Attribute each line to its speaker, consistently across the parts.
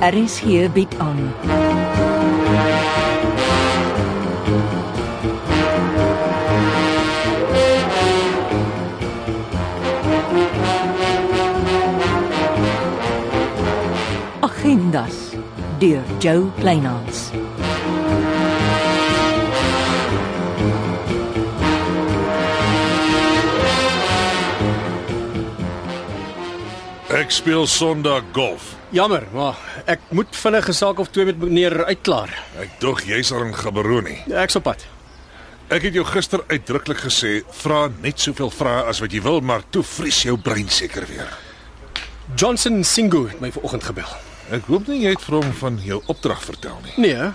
Speaker 1: Aris hier bied aan. Agendas deur Jo Kleinhans.
Speaker 2: Ek speel Sondag golf.
Speaker 3: Jammer, maar ek moet vinnig 'n saak of twee met meneer uitklaar.
Speaker 2: Ek dog jy's al in Gaberoni.
Speaker 3: Ek's op pad.
Speaker 2: Ek het jou gister uitdruklik gesê, vra net soveel vrae as wat jy wil, maar toe vries jou brein seker weer.
Speaker 3: Johnson Singo het my vanoggend gebel.
Speaker 2: Ek hoop nie jy het vir hom van jou opdrag vertel nie.
Speaker 3: Nee. hè?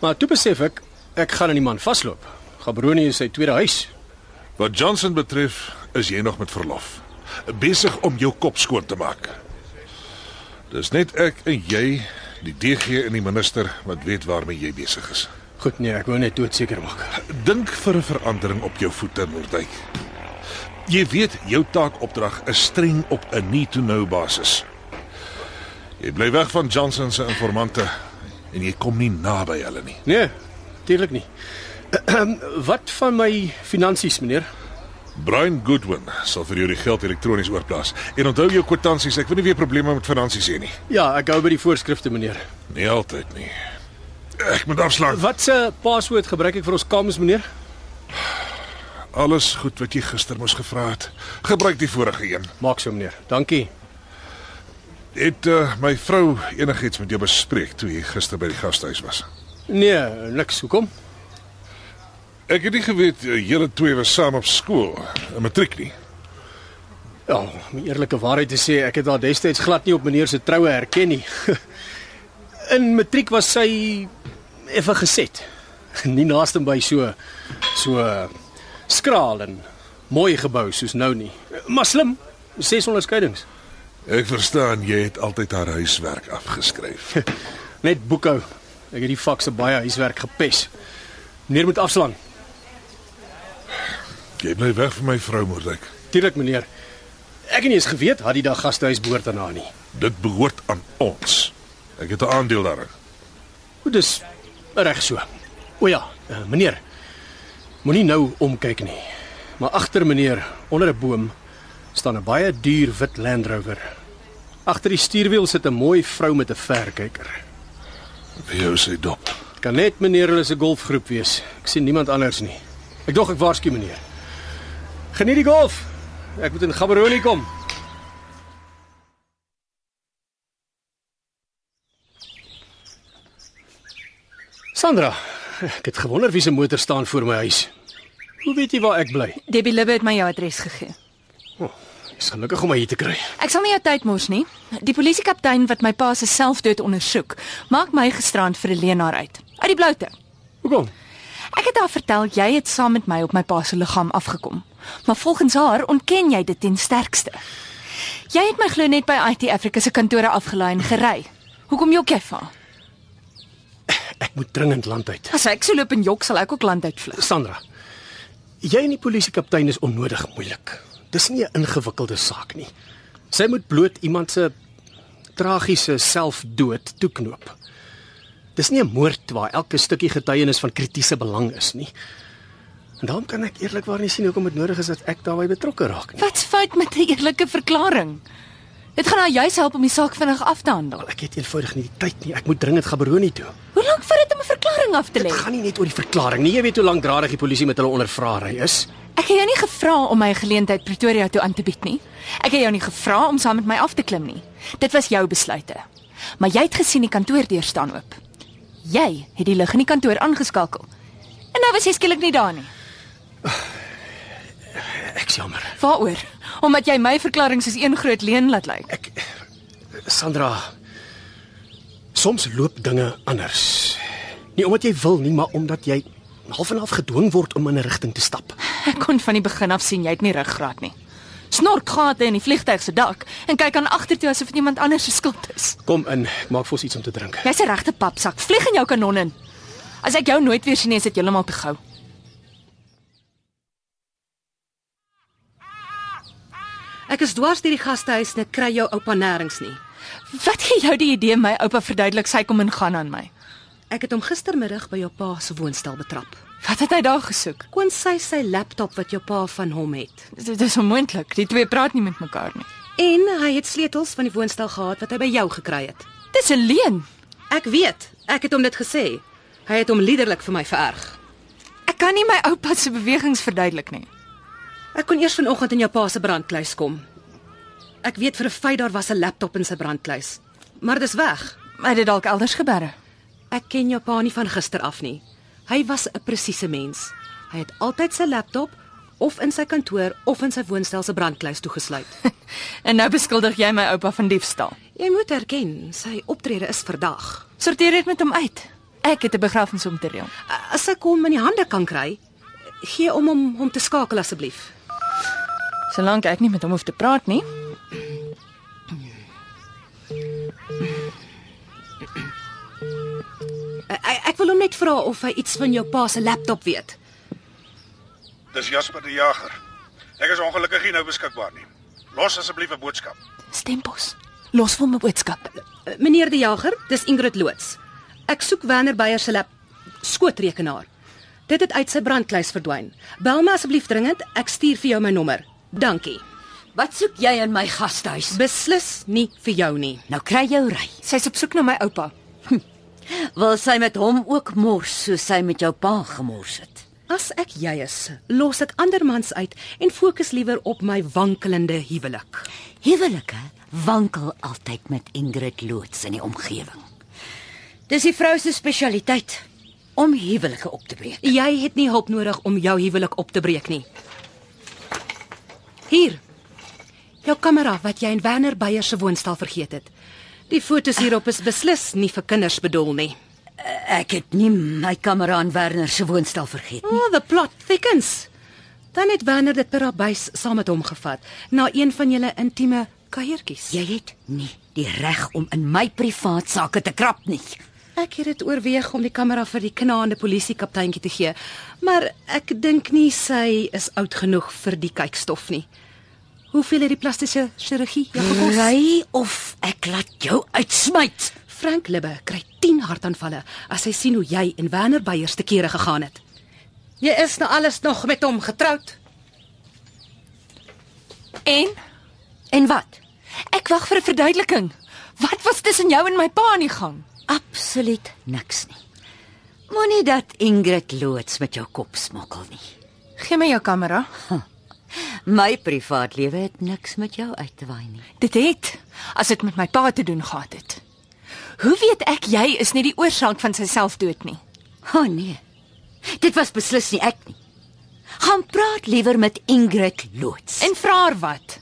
Speaker 3: Maar toe besef ek ek gaan aan die man vasloop. Gabroni is sy tweede huis.
Speaker 2: Wat Johnson betref, is jy nog met verlof. Besig om jou kop skoon te maak. Dis net ek en jy, die DG en die minister wat weet waarmee jy besig is.
Speaker 3: Goed nee, ek wou net doodseker maak.
Speaker 2: Dink vir 'n verandering op jou voete, Mordyk. Jy weet, jou taakopdrag is streng op 'n need-to-know basis. Jy bly weg van Johnson se informante en jy kom nie naby hulle nie.
Speaker 3: Nee, tydelik nie. Wat van my finansies, meneer?
Speaker 2: Brian Goodwin sal vir jou die geld elektronies oorplaas. En onthou jou kwitansies, ek wil nie weer probleme met finansies hê nie.
Speaker 3: Ja, ek hou by die voorskrifte, meneer.
Speaker 2: Nie altyd nie. Ek moet afslaan.
Speaker 3: Wat se paswoord gebruik ek vir ons kamers, meneer?
Speaker 2: Alles goed wat jy gister moes gevra het. Gebruik die vorige een.
Speaker 3: Maak so, meneer. Dankie.
Speaker 2: Het uh, my vrou enigiets met jou bespreek toe jy gister by die gastehuis was?
Speaker 3: Nee, niks. Hoekom?
Speaker 2: Ek het nie geweet eh, julle twee was saam op skool, 'n matriek nie.
Speaker 3: Ja, om die eerlike waarheid te sê, ek het haar destyds glad nie op meneer se troue herken nie. In matriek was sy effe geset. Nie naaste by so so skraal en mooi gebou soos nou nie. Maar slim, ses onderskeidings.
Speaker 2: Ek verstaan jy het altyd haar huiswerk afgeskryf.
Speaker 3: Net boekhou. Ek het die vak se baie huiswerk gepes. Meneer moet afslaan.
Speaker 2: jy bly weg van my vrou Moordek.
Speaker 3: Tuurlik meneer. Ek het nie eens geweet had die dag gastehuis behoort aan haar nie.
Speaker 2: Dit behoort aan ons. Ek het 'n aandeel daarin.
Speaker 3: Goed, dis reg so. O ja, eh, meneer. Moenie nou omkyk nie. Maar agter meneer, onder 'n boom, staan 'n baie duur wit Land Rover. Agter die stuurwiel sit 'n mooi vrou met 'n verkyker.
Speaker 2: Wie hou sy dop?
Speaker 3: Dit kan net meneer hulle se golfgroep wees. Ek sien niemand anders nie. Ek dog ek waarsku meneer. Geniet die golf. Ek moet in Gaborone kom. Sandra, ek het gewonder wie se motor staan voor my huis. Hoe weet jy waar ek bly?
Speaker 4: Debbie Libbe het my jou adres gegee.
Speaker 3: Ek's gelukkig om my hier te kry.
Speaker 4: Ek sal nie jou tyd mors nie. Die polisiekaptein wat my pa se selfdood ondersoek, maak my gisterand vir 'n leienaar uit. Uit die bloute.
Speaker 3: Hoekom?
Speaker 4: Ek het haar vertel jy het saam met my op my pa se liggaam afgekom. Maar volgens haar ontken jy dit ten sterkste. Jy het my glo net by IT Africa se kantore afgelaai en gery. Hoekom jok jy vir? haar?
Speaker 3: Ek moet dringend land uit.
Speaker 4: As ek so loop en jok sal ek ook land uitvlug.
Speaker 3: Sandra, jy en die polisiekaptein is onnodig moeilik. Dis nie 'n ingewikkelde saak nie. Sy moet bloot iemand se tragiese selfdood toeknoop. Dis nie 'n moord waar elke stukkie getuienis van kritiese belang is nie. En daarom kan ek eerlikwaar nie sien hoekom dit nodig is dat ek daarbey betrokke raak nie.
Speaker 4: Wat's fout met 'n eerlike verklaring? Dit gaan haar juis help om die saak vinnig af te handel.
Speaker 3: Ek het eenvoudig nie die tyd nie. Ek moet dringend Gaberoni toe.
Speaker 4: Hoe lank vat dit om 'n verklaring af te
Speaker 3: Dit
Speaker 4: lê?
Speaker 3: gaan nie net oor die verklaring nie. Jy weet hoe lankdradig die polisie met hulle ondervraaery is.
Speaker 4: Ek het jou nie gevra om my 'n geleentheid Pretoria toe aan te bied nie. Ek het jou nie gevra om saam met my af te klim nie. Dit was jou besluite. Maar jy het gesien die kantoor deur staan oop. Jy het die lig in die kantoor aangeskakel. En nou was jy skielik nie daar nie.
Speaker 3: Ek's jammer.
Speaker 4: Waaroor? Omdat jy my verklaring soos een groot leuen laat lyk.
Speaker 3: Ek Sandra soms loop dinge anders. Nie omdat jy wil nie, maar omdat jy half en half gedwing word om in 'n rigting te stap.
Speaker 4: Ek kon van die begin af sien jy het nie ruggraat nie. Snork gate in die vliegtyg se dak en kyk aan agtertoe asof dit iemand anders se skuld is.
Speaker 3: Kom in, ek maak vir ons iets om te drink.
Speaker 4: Jy's 'n regte papsak. Vlieg in jou kanon in. As ek jou nooit weer sien nie, is dit heeltemal te gou.
Speaker 5: Ek is dwars deur die gastehuis en ek kry jou oupa nêrens nie.
Speaker 4: Wat gee jou die idee my oupa verduidelik sy kom en gaan aan my?
Speaker 5: Ek het hom gistermiddag by jou pa se woonstel betrap.
Speaker 4: Wat het hy daar gesoek?
Speaker 5: Kon sy sy laptop wat jou pa van hom het.
Speaker 4: Dit dit is onmoontlik. Die twee praat nie met mekaar nie.
Speaker 5: En hy het sleutels van die woonstel gehad wat hy by jou gekry het.
Speaker 4: Dis 'n leuen.
Speaker 5: Ek weet, ek het hom dit gesê. Hy het hom liderlik vir my vererg.
Speaker 4: Ek kan nie my oupa se bewegings verduidelik nie.
Speaker 5: Ek kon eers vanoggend in jou pa se brandkluis kom. Ek weet vir 'n feit daar was 'n laptop in sy brandkluis, maar dis weg.
Speaker 4: Hy het dit dalk elders geberre.
Speaker 5: Ek ken jou pa nie van gister af nie. Hy was 'n presiese mens. Hy het altyd sy laptop of in sy kantoor of in sy woonstel se brandkluis toegesluit.
Speaker 4: En nou beskuldig jy my oupa van diefstal.
Speaker 5: Jy moet erken, sy optrede is verdag.
Speaker 4: Sorteer dit met hom uit. Ek het 'n begrafnis om te reël.
Speaker 5: As sy kom in die hande kan kry, gee om hom hom te skakel asseblief.
Speaker 4: Solank ek nie met hom hoef te praat nie.
Speaker 5: Ek, ek wil hom net vra of hy iets van jou pa se laptop weet.
Speaker 6: Dis Jasper die Jager. Ek is ongelukkig nie nou beskikbaar nie. Los asseblief 'n boodskap.
Speaker 4: Stempos. Los vir my boodskap.
Speaker 5: Eh, Meneer die Jager, dis Ingrid Loots. Ek soek Werner Beyer se lap skootrekenaar. Dit het uit sy brandkluis verdwyn. Bel my asseblief dringend, ek stuur vir jou my nommer. Dankie.
Speaker 7: Wat soek jy in my gastehuis?
Speaker 5: Beslis nie vir jou nie.
Speaker 7: Nou kry jou ry.
Speaker 4: Sy's op soek na my oupa.
Speaker 7: Wil sy met hom ook mors soos sy met jou pa gemors het?
Speaker 5: As ek jy is, los ek ander mans uit en fokus liewer op my wankelende huwelik.
Speaker 7: Huwelike wankel altyd met Ingrid loods in die omgewing. Dis die vrou se spesialiteit om huwelike op te breek.
Speaker 5: Jy het nie hulp nodig om jou huwelik op te breek nie. Hier. Jou kamera wat jy in Werner Beyer se woonstel vergeet het. Die fotos hierop is beslis nie vir kinders bedoel nie.
Speaker 7: Ek het nie my kamera aan Werner se woonstel vergeet nie.
Speaker 5: Oh, the plot thickens. Dan het Werner dit per abuis saam met hom gevat na een van julle intieme kuiertjies.
Speaker 7: Jy het nie die reg om in my privaat sake te krap nie.
Speaker 5: Ek het dit oorweeg om die kamera vir die knaande polisiekapteintjie te gee, maar ek dink nie sy is oud genoeg vir die kykstof nie. Hoeveel het die plastiese chirurgie jou gekos?
Speaker 7: Ry of ek laat jou uitsmyt.
Speaker 5: Frank Libbe kry 10 hartaanvalle as hy sien hoe jy en Werner Beyers te kere gegaan het. Jy is nou alles nog met hom getroud.
Speaker 4: En
Speaker 7: En wat?
Speaker 4: ek wag vir 'n verduideliking. Wat was tussen jou en my pa aan die gang?
Speaker 7: Absoluut niks nie. Moenie dat Ingrid loods met jou kop smokkel nie.
Speaker 4: Gee my jou kamera.
Speaker 7: My privaat lewe het niks met jou uit te waai nie.
Speaker 4: Dit het as dit met my pa te doen gehad het. Hoe weet ek jy is nie die oorsaak van sy selfdood nie?
Speaker 7: O oh, nee. Dit was beslis nie ek nie. Gaan praat liewer met Ingrid loods.
Speaker 4: En vra haar wat?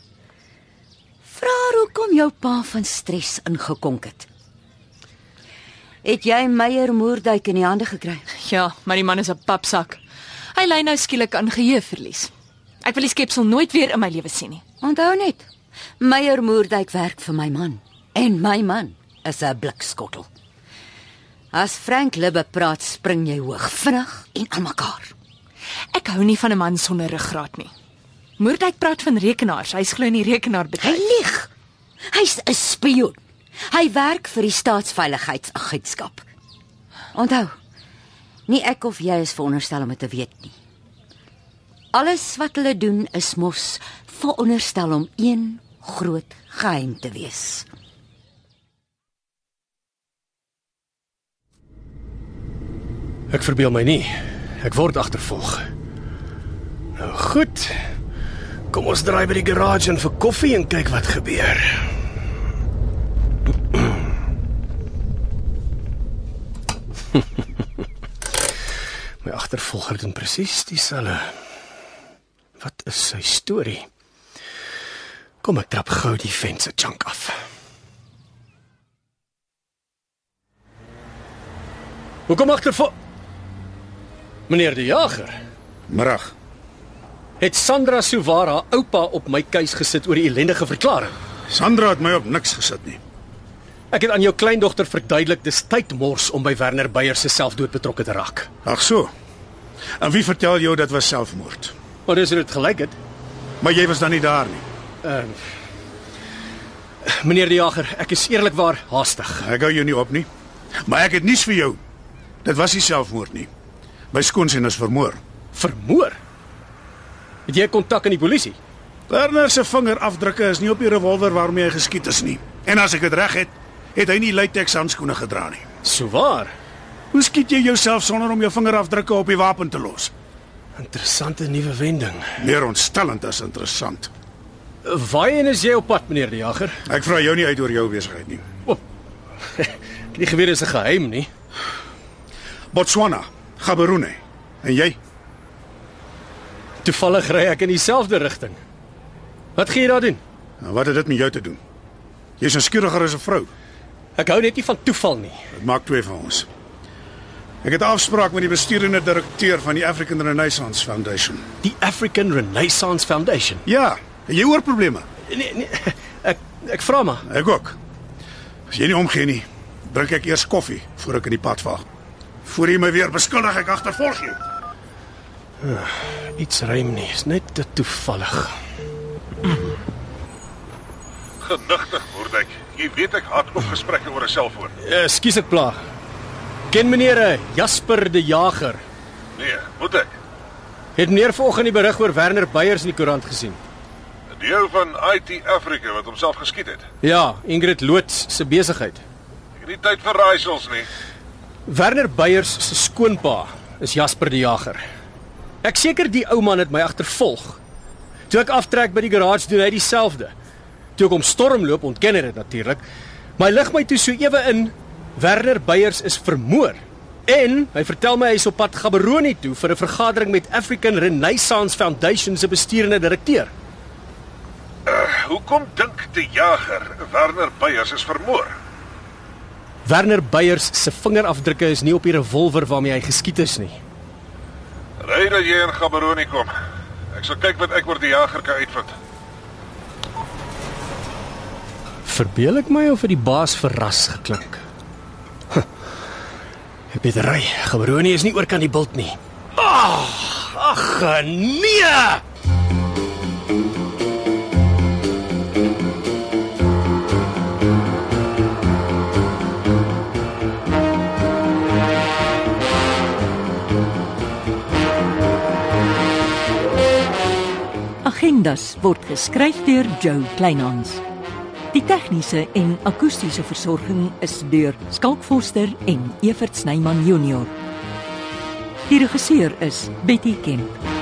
Speaker 7: vra haar hoekom jou pa van stres ingekonk het. Het jy Meyer Moerduyk in die hande gekry?
Speaker 4: Ja, maar die man is 'n papsak. Hy ly nou skielik aan geheueverlies. Ek wil die skepsel nooit weer in my lewe sien nie.
Speaker 7: Onthou net, Meyer Moerdijk werk vir my man en my man is 'n blikskottel. As Frank Libbe praat, spring jy hoog, vinnig en aan mekaar.
Speaker 4: Ek hou nie van 'n man sonder ruggraat nie. Moerdijk praat van rekenaars. Hy's glo in die
Speaker 7: Hy
Speaker 4: rekenaarbedryf.
Speaker 7: lieg. Hy's 'n spioen. Hy werk vir die staatsveiligheidsagentskap. Onthou, nie ek of jy is veronderstel om dit te weet nie. Alles wat hulle doen is mos veronderstel om een groot geheim te wees.
Speaker 3: Ek verbeel my nie. Ek word agtervolg. Nou goed. Kom ons draai by die garage en vir koffie en kyk wat gebeur. my agtervolger doen presies dieselfde. Wat is sy storie? Kom ek trap gou die vent se chunk af. Hoekom agtervolg? Meneer die jager.
Speaker 6: Middag.
Speaker 3: Het Sandra Suwara haar oupa op my keus gesit oor die ellendige verklaring.
Speaker 6: Sandra het my op niks gesit nie.
Speaker 3: Ek het aan jou kleindogter verduidelik dis tydmors om by Werner Beyer se selfdood betrokke te raak.
Speaker 6: Ag so. En wie vertel jou dat was selfmoord?
Speaker 3: Maar dis hoe dit gelyk het.
Speaker 6: Maar jy was dan nie daar nie.
Speaker 3: Ehm, Meneer die Jager, ek is eerlikwaar haastig.
Speaker 6: Ek hou jou nie op nie. Maar ek het nuus vir jou. Dit was nie selfmoord nie. My skoonseun is vermoor.
Speaker 3: Vermoor. Het jy kontak aan die polisie?
Speaker 6: Werner se vingerafdrukke is nie op die revolver waarmee hy geskiet is nie. En as ek dit reg het, het hy nie latex handskoene gedra nie.
Speaker 3: Sou waar.
Speaker 6: Hoe skiet jy jouself sonder om jou vingerafdrukke op die wapen te los?
Speaker 3: Interessante nuwe wending.
Speaker 6: Meer ontstellend as interessant.
Speaker 3: Waarheen is jy op pad, meneer die Jager?
Speaker 6: Ek vra jou nie uit oor jou besigheid nie.
Speaker 3: Die geweer is 'n geheim nie.
Speaker 6: Botswana, Gaborone. En jy?
Speaker 3: Toevallig ry ek in dieselfde rigting. Wat gaan jy daar doen?
Speaker 6: Nou, wat het dit met jou te doen? Jy's 'n skieriger as 'n vrou.
Speaker 3: Ek hou net nie van toeval nie.
Speaker 6: Dit maak twee van ons. Ek het 'n afspraak met die besturende direkteur van die African Renaissance Foundation.
Speaker 3: Die African Renaissance Foundation.
Speaker 6: Ja, en jy hoor probleme.
Speaker 3: Nee, nee ek ek vra maar.
Speaker 6: Ek ook. As jy nie omgee nie, drink ek eers koffie voor ek in die pad vaag. Voor jy my weer beskuldig ek agtervolg jou.
Speaker 3: Iets ruim nie, is net te toevallig.
Speaker 2: Genigtig, Moerdijk. Jy weet ek haat op gesprekke oor 'n selfoon.
Speaker 3: Ekskuus Eh, ek pla. Ken meneer eh, Jasper die Jager.
Speaker 2: Nee, moet ek.
Speaker 3: Het meneer vanoggend die berig oor Werner Beyers in die koerant gesien?
Speaker 2: Die ou van IT Africa wat homself geskiet het.
Speaker 3: Ja, Ingrid Loots se besigheid.
Speaker 2: Ek het nie tyd vir raaisels nie.
Speaker 3: Werner Beyers se skoonpa is Jasper die Jager. Ek seker die ou man het my agtervolg. Toe ek aftrek by die garage doen hy dieselfde. Toe ek hom stormloop ontken hy dit natuurlik. Maar hy lig my toe so ewe in Werner Beyers is vermoor. En hy vertel my hy is op pad Gaborone toe vir 'n vergadering met African Renaissance Foundation se besturende direkteur.
Speaker 2: Hoekom dink die jager Werner Beyers is vermoor?
Speaker 3: Werner Beyers se vingerafdrukke is nie op die revolver waarmee hy geskiet is nie.
Speaker 2: Ry dat jy in Gaborone kom. Ek sal kyk wat ek oor die jager kan uitvind.
Speaker 3: Verbeel ek my of het die baas verras geklink? Huh. Ek weet ry, Gabroni is nie oor kan die bult nie. Ah, Ag, ag nee!
Speaker 1: Agendas word geskryf deur Joe Kleinhans. Die tegniese en akoestiese versorging is deur Skalk Forster en Evert Snyman Junior. Die regisseur is Betty Kemp.